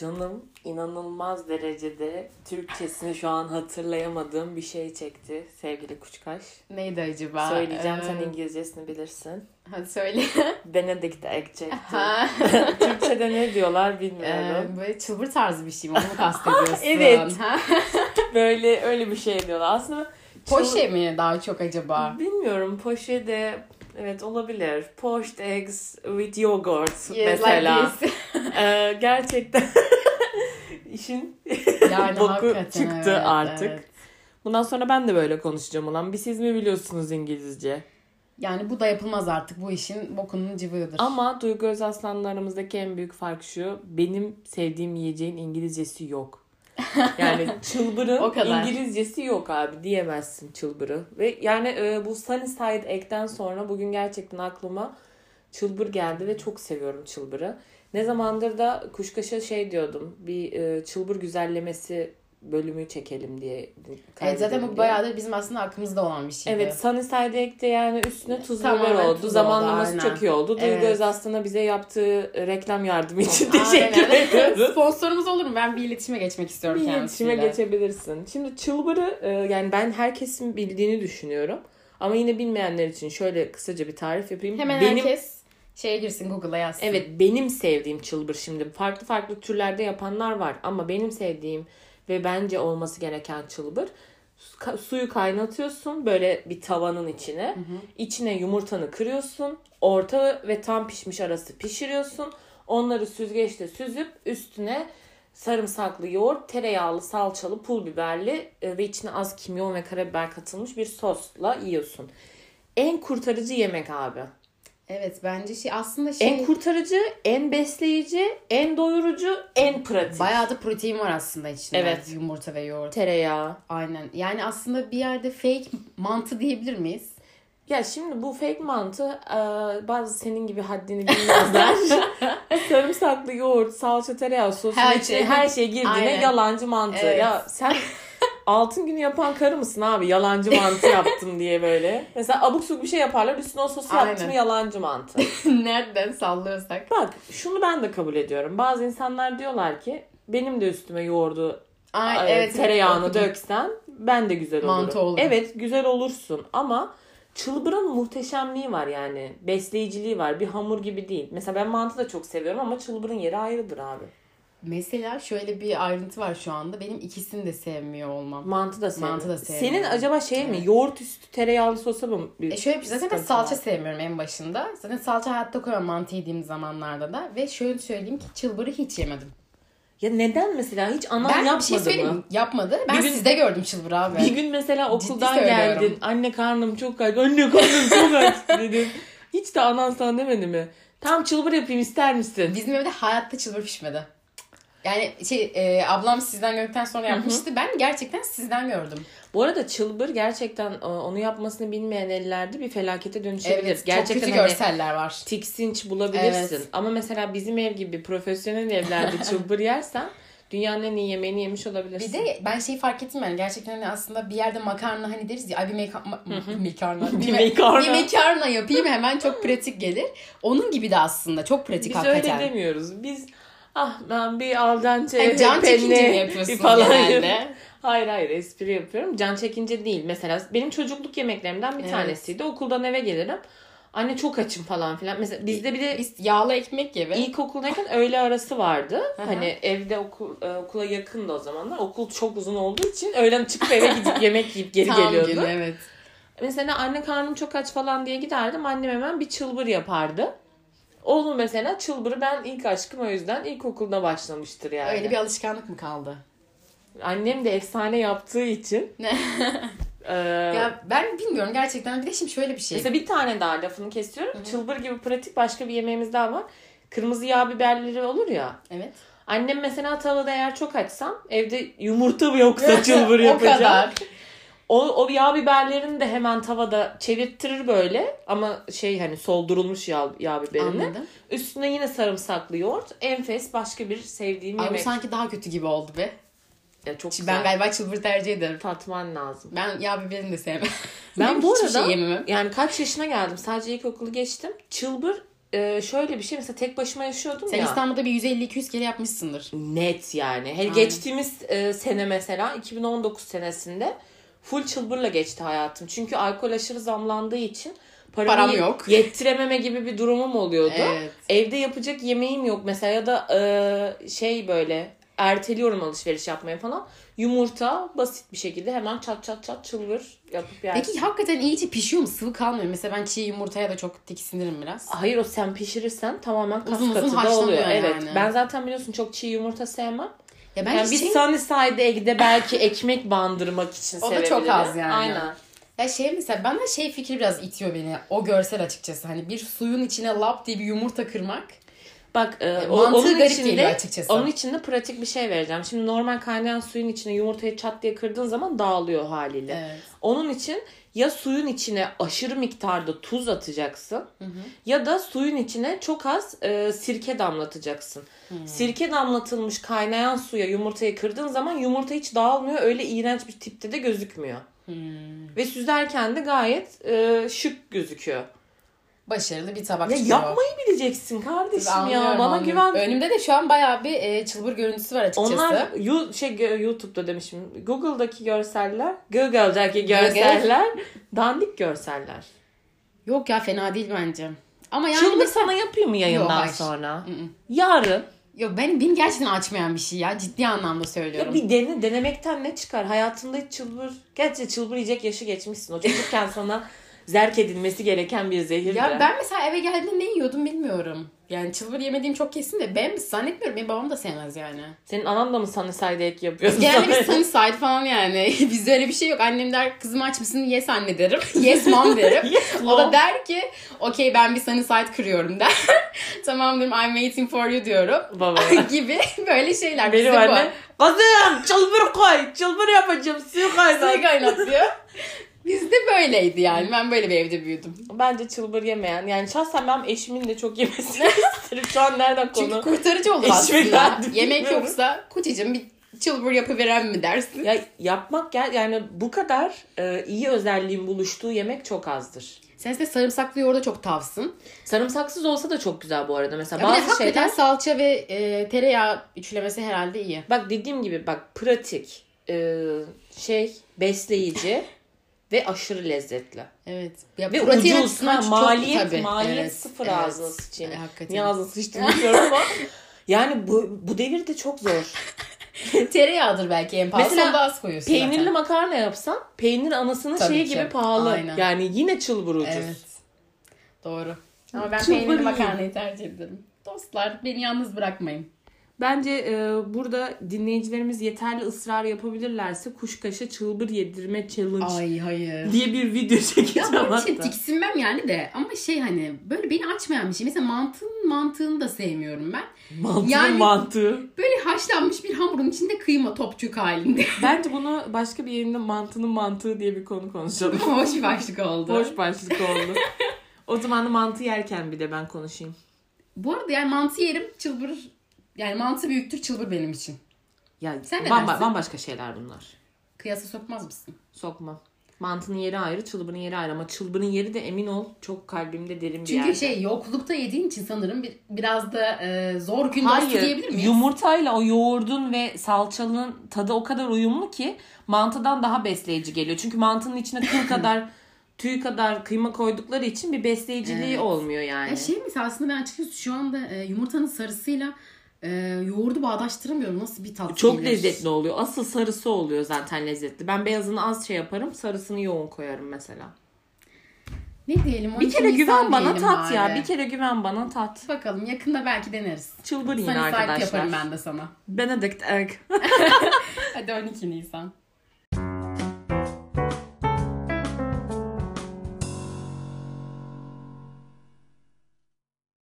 Hanım inanılmaz derecede Türkçesini şu an hatırlayamadığım bir şey çekti sevgili Kuçkaş. Neydi acaba? Söyleyeceğim sen Ee, İngilizcesini bilirsin. Ha, söyle. Benedict Egg Ha. Türkçe'de ne diyorlar Ee, bilmiyorum. böyle çılbır tarzı bir şey mi? Onu mu kastediyorsun? Evet. Ha? Böyle öyle bir şey diyorlar. Aslında Poşe mi daha çok acaba? Bilmiyorum poşe de evet olabilir. Poached eggs with yogurt Yes, mesela. like this. Ee, gerçekten işin Yani boku hakikaten çıktı evet, artık. evet. Bundan sonra ben de böyle konuşacağım ulan. Bir siz mi biliyorsunuz İngilizce? Yani bu da yapılmaz artık. Bu işin bokunun cıvığıdır. Ama Duygu Özaslan'la aramızdaki en büyük fark şu. Benim sevdiğim yiyeceğin İngilizcesi yok. Yani çılbırın O kadar. İngilizcesi yok abi diyemezsin çılbırı. Ve yani e, bu Sunny Side Egg'den sonra bugün gerçekten aklıma çılbır geldi ve çok seviyorum çılbırı. Ne zamandır da Kuşkaş'a şey diyordum. Bir e, çılbır güzellemesi bölümü çekelim diye. Evet, E, zaten kaydedelim bu diye. bayağıdır bizim aslında aklımızda olan bir şeydi. Evet Sunny Side Egg'de yani üstüne tuz Tamamen biber oldu. tuz oldu, Zamanlaması aynen. çok iyi oldu. Duygu Evet. Özaslan'a bize yaptığı reklam yardımı için Aynen. teşekkür ediyoruz. Sponsorumuz olur mu? Ben bir iletişime geçmek istiyorum Bir kendisiyle. iletişime geçebilirsin. Şimdi çılbırı e, yani ben herkesin bildiğini düşünüyorum. Ama yine bilmeyenler için şöyle kısaca bir tarif yapayım. Hemen benim herkes şeye girsin Google'a yazsın. Evet benim sevdiğim çılbır şimdi farklı farklı türlerde yapanlar var ama benim sevdiğim ve bence olması gereken çılbır su- ka- suyu kaynatıyorsun böyle bir tavanın içine. İçine yumurtanı kırıyorsun. Orta ve tam pişmiş arası pişiriyorsun. Onları süzgeçte süzüp üstüne sarımsaklı yoğurt, tereyağlı, salçalı, pul biberli e, ve içine az kimyon ve karabiber katılmış bir sosla yiyorsun. En kurtarıcı yemek abi. Evet bence şey aslında şey En kurtarıcı, en besleyici, en doyurucu, en pratik. bayağı da protein var aslında içinde. Evet. Yumurta ve yoğurt. tereyağı. Aynen. Yani aslında bir yerde fake mantı diyebilir miyiz? Ya şimdi bu fake mantı e, bazı senin gibi haddini bilmezler. Sarımsaklı yoğurt, salça, tereyağı, sosun Her her içine şey. her şey girdiğine Aynen. yalancı mantı. Evet. Ya sen altın günü yapan karı mısın abi? Yalancı mantı yaptım diye böyle. Mesela abuk subuk bir şey yaparlar üstüne o sosu Aynen. yaptım yalancı mantı. Nereden sallıyorsak. Bak şunu ben de kabul ediyorum. Bazı insanlar diyorlar ki benim de üstüme yoğurdu Ay, Ay, evet, tereyağını okudum. döksen ben de güzel olurum. Mantı olurum. Evet güzel olursun ama çılbırın muhteşemliği var yani. Besleyiciliği var. Bir hamur gibi değil. Mesela ben mantı da çok seviyorum ama çılbırın yeri ayrıdır abi. Mesela şöyle bir ayrıntı var şu anda. Benim ikisini de sevmiyor olmam. Mantı da seviyorum. Mantı da seviyorum. Senin acaba şey mi? Yoğurt üstü tereyağlı sosa mı? bir E şöyle bir şey zaten ben sıkıntı salça var? sevmiyorum en başında. Zaten salça hayatta koyamam mantı yediğim zamanlarda da. Ve şöyle söyleyeyim ki çılbırı hiç yemedim. Ya neden mesela? Hiç anam ben bir yapmadı şey söyleyeyim mi? mı? Yapmadı. Ben Bir gün- sizde gördüm çılbırı abi. Bir gün mesela Ciddi okuldan söylüyorum. geldin. Anne karnım çok aç. Anne karnım çok aç dedin. Hiç de anan sana demedi mi? Tam çılbır yapayım ister misin? Bizim evde hayatta çılbır pişmedi. Yani şey e, ablam sizden gördükten sonra yapmıştı. Ben gerçekten sizden gördüm. Bu arada çılbır gerçekten e, onu yapmasını bilmeyen ellerde bir felakete dönüşebilir. Evet, gerçekten çok kötü hani görseller var. tiksinç bulabilirsin. Evet. Ama mesela bizim ev gibi profesyonel evlerde çılbır yersen dünyanın en iyi yemeğini yemiş olabilirsin. Bir de ben şeyi fark ettim yani gerçekten hani aslında bir yerde makarna hani deriz ya ay bir meka- ma- mekarna Bir me- mekarna. bir mekarna yapayım hemen çok pratik gelir. Onun gibi de aslında çok pratik biz hakikaten. öyle demiyoruz. Biz ah ben bir al dente Hani can penne çekince mi yapıyorsun falan genelde? yapıyorum. Hayır hayır espri yapıyorum. Can çekince değil. Mesela benim çocukluk yemeklerimden bir Evet. tanesiydi. Okuldan eve gelirim. Anne çok açım falan filan. Mesela bizde bir de Biz yağlı ekmek gibi. İlkokuldayken öğle arası vardı. hı. hani evde okul, e, okula yakındı o zamanlar. Okul çok uzun olduğu için öğlen çıkıp eve gidip yemek yiyip geri Tam geliyordu. gün evet. Mesela anne karnım çok aç falan diye giderdim. Annem hemen bir çılbır yapardı. Oğlum mesela çılbırı ben ilk aşkım o yüzden ilkokulda başlamıştır yani. Öyle bir alışkanlık mı kaldı? Annem de efsane yaptığı için. Ne? e, Ya ben bilmiyorum gerçekten. Bir de şimdi şöyle bir şey. Mesela bir tane daha lafını kesiyorum. Çılbır gibi pratik başka bir yemeğimiz daha var. Kırmızı yağ biberleri olur ya. Evet. Annem mesela tavada eğer çok açsam evde yumurta mı yoksa çılbır O kadar. yapacağım. O, o yağ biberlerini de hemen tavada çevirttirir böyle ama şey hani soldurulmuş yağ, yağ biberini. Anladım. Üstüne yine sarımsaklı yoğurt. Enfes başka bir sevdiğim Ay bu yemek. sanki daha kötü gibi oldu be. Ya çok Şimdi güzel. ben galiba çılbır tercih ederim. tatman lazım. Ben yağ biberini de sevmem. Ben bu hiçbir arada- şey yememem. Yani kaç yaşına geldim sadece ilkokulu geçtim. Çılbır e, şöyle bir şey mesela tek başıma yaşıyordum Sen ya. İstanbul'da bir 150-200 kere yapmışsındır. Net yani. Hele Aynen. geçtiğimiz e, sene mesela 2019 senesinde full çılbırla geçti hayatım. Çünkü alkol aşırı zamlandığı için paramı Param ye- yok. yettirememe gibi bir durumum oluyordu. Evet. Evde yapacak yemeğim yok mesela ya da e, şey böyle erteliyorum alışveriş yapmaya falan. Yumurta basit bir şekilde hemen çat çat çat çılbır yapıp yersin. Peki hakikaten iyice pişiyor mu? Sıvı kalmıyor. mu? Mesela ben çiğ yumurtaya da çok tiksinirim biraz. Hayır o sen pişirirsen tamamen kas Uzun uzun katı da haşlanıyor oluyor. yani. Evet. Ben zaten biliyorsun çok çiğ yumurta sevmem. Ya ben Yani hiç biz şey... Sunnyside'e Ege'de belki ekmek bandırmak için O da sevebilirim. çok az yani. Aynen. Ya şey mesela bana şey fikri biraz itiyor beni. O görsel açıkçası. Hani bir suyun içine lap diye bir yumurta kırmak. Bak e, o- Mantığı onun garip geliyor içinde açıkçası. onun içinde pratik bir şey vereceğim. Şimdi normal kaynayan suyun içine yumurtayı çat diye kırdığın zaman dağılıyor haliyle. Evet. Onun için ya suyun içine aşırı miktarda tuz atacaksın ya da suyun içine çok az e, sirke damlatacaksın. Sirke damlatılmış kaynayan suya yumurtayı kırdığın zaman yumurta hiç dağılmıyor. Öyle iğrenç bir tipte de gözükmüyor. Hmm. Ve süzerken de gayet e, şık gözüküyor. Başarılı bir tabak Ya çıkıyor. yapmayı bileceksin kardeşim ya. Anlıyorum, Bana anlıyorum. güven. Önümde de şu an bayağı bir e, çılbır görüntüsü var açıkçası. Onlar you, şey gö- YouTube'da demişim. Google'daki görseller, Google'daki görseller dandik görseller. Yok ya fena değil bence. Ama yani Çılgın mesela... sana yapayım mı Yok, yayından hayır. sonra? Mm-mm. Yarın. Yok ben beni gerçekten açmayan bir şey ya. Ciddi anlamda söylüyorum. Ya bir dene, denemekten ne çıkar? Hayatında hiç çılbır. Gerçi çılbır yiyecek yaşı geçmişsin. O çocukken sana zerk edilmesi gereken bir zehirdi. Ya ben mesela eve geldiğimde ne yiyordum bilmiyorum. Yani çılbır yemediğim çok kesin de ben zannetmiyorum. Benim babam da sevmez yani. Senin anan da mı sana side ek yapıyorsun? Genelde biz Sunnyside falan yani. Bizde öyle bir şey yok. Annem der kızım aç mısın? Yes anne derim. Yes mom derim. o da der ki okey ben bir Sunnyside kırıyorum der. tamam derim I'm waiting for you diyorum. Baba. gibi böyle şeyler. Benim Bizde bu. annem. Kızım çılbır koy. Çılbır yapacağım. Suyu kaynat. Suyu kaynat diyor. Bizde böyleydi yani. Ben böyle bir evde büyüdüm. Bence çılbır yemeyen. Yani şahsen ben eşimin de çok yemesini isterim. Şu an nereden konu? Çünkü kurtarıcı olur Eşime aslında. geldi, Yemek bilmiyorum. yoksa kocacığım bir çılbır yapıveren mi dersin? Ya yapmak gel yani bu kadar e, iyi özelliğin buluştuğu yemek çok azdır. Sen de sarımsaklı yoğurda çok tavsın. Sarımsaksız olsa da çok güzel bu arada. Mesela Ya bir de bazı hakikaten şeyler salça ve e, tereyağı üçlemesi herhalde iyi. bak dediğim gibi bak pratik, e, şey besleyici ve aşırı lezzetli. Evet. Ya, Ve protein ucuz. açısından Ha, çok maliyet, tabii. maliyet Evet, sıfır evet. ağzına sıçayım. E, hakikaten. Niye ağzına sıçtım bilmiyorum ama yani bu, bu devirde çok zor. Tereyağıdır belki en pahalı. Mesela Mesela da az koyuyorsun Peynirli zaten. makarna yapsan peynir anasının Tabii şeyi ki. gibi pahalı. Aynen. Yani yine çılbır ucuz. Evet. Doğru. Ama ben Çılbır iyi. peynirli makarnayı tercih ederim. Dostlar beni yalnız bırakmayın. Bence e, burada dinleyicilerimiz yeterli ısrar yapabilirlerse kuşkaşa çılbır yedirme challenge Ay hayır. diye bir video Ya çekeceğim benim için hatta. tiksinmem yani de ama şey hani böyle beni açmayan bir şey. Mesela mantığın mantığını da sevmiyorum ben. Mantığın Yani- mantığı. Böyle haşlanmış bir hamurun içinde kıyma topçuk halinde. Bence bunu başka bir yerinde mantının mantığı diye bir konu konuşalım. Hoş bir başlık oldu. Boş başlık oldu. O zaman da mantı yerken bir de ben konuşayım. Bu arada yani mantı yerim çılbır yani mantı büyüktür çılbır benim için. Ya Sen ne bamba- dersin? bambaşka şeyler bunlar. Kıyasa sokmaz mısın? Sokmam. Mantının yeri ayrı, çılbırın yeri ayrı ama çılbırın yeri de emin ol çok kalbimde derin bir Çünkü yerde. şey yoklukta yediğin için sanırım bir, biraz da e, zor gün dostu diyebilir Hayır. miyiz? Yumurtayla o yoğurdun ve salçalının tadı o kadar uyumlu ki mantıdan daha besleyici geliyor. Çünkü mantının içine kıl kadar tüy kadar kıyma koydukları için bir besleyiciliği Evet. olmuyor yani. Ya şey mesela aslında ben açıkçası şu anda e, yumurtanın sarısıyla e, yoğurdu bağdaştıramıyorum. Nasıl bir tat Çok gelir? lezzetli oluyor. Asıl sarısı oluyor zaten lezzetli. Ben beyazını az şey yaparım, sarısını yoğun koyarım mesela. Ne diyelim? Bir 12 kere güven Nisan bana diyelim tat ya. bari. Bir kere güven bana tat. Bakalım yakında belki deneriz. Hani Çılbır yine Sana sahip arkadaşlar. yaparım ben de sana. Benedict egg. Hadi 12 Nisan.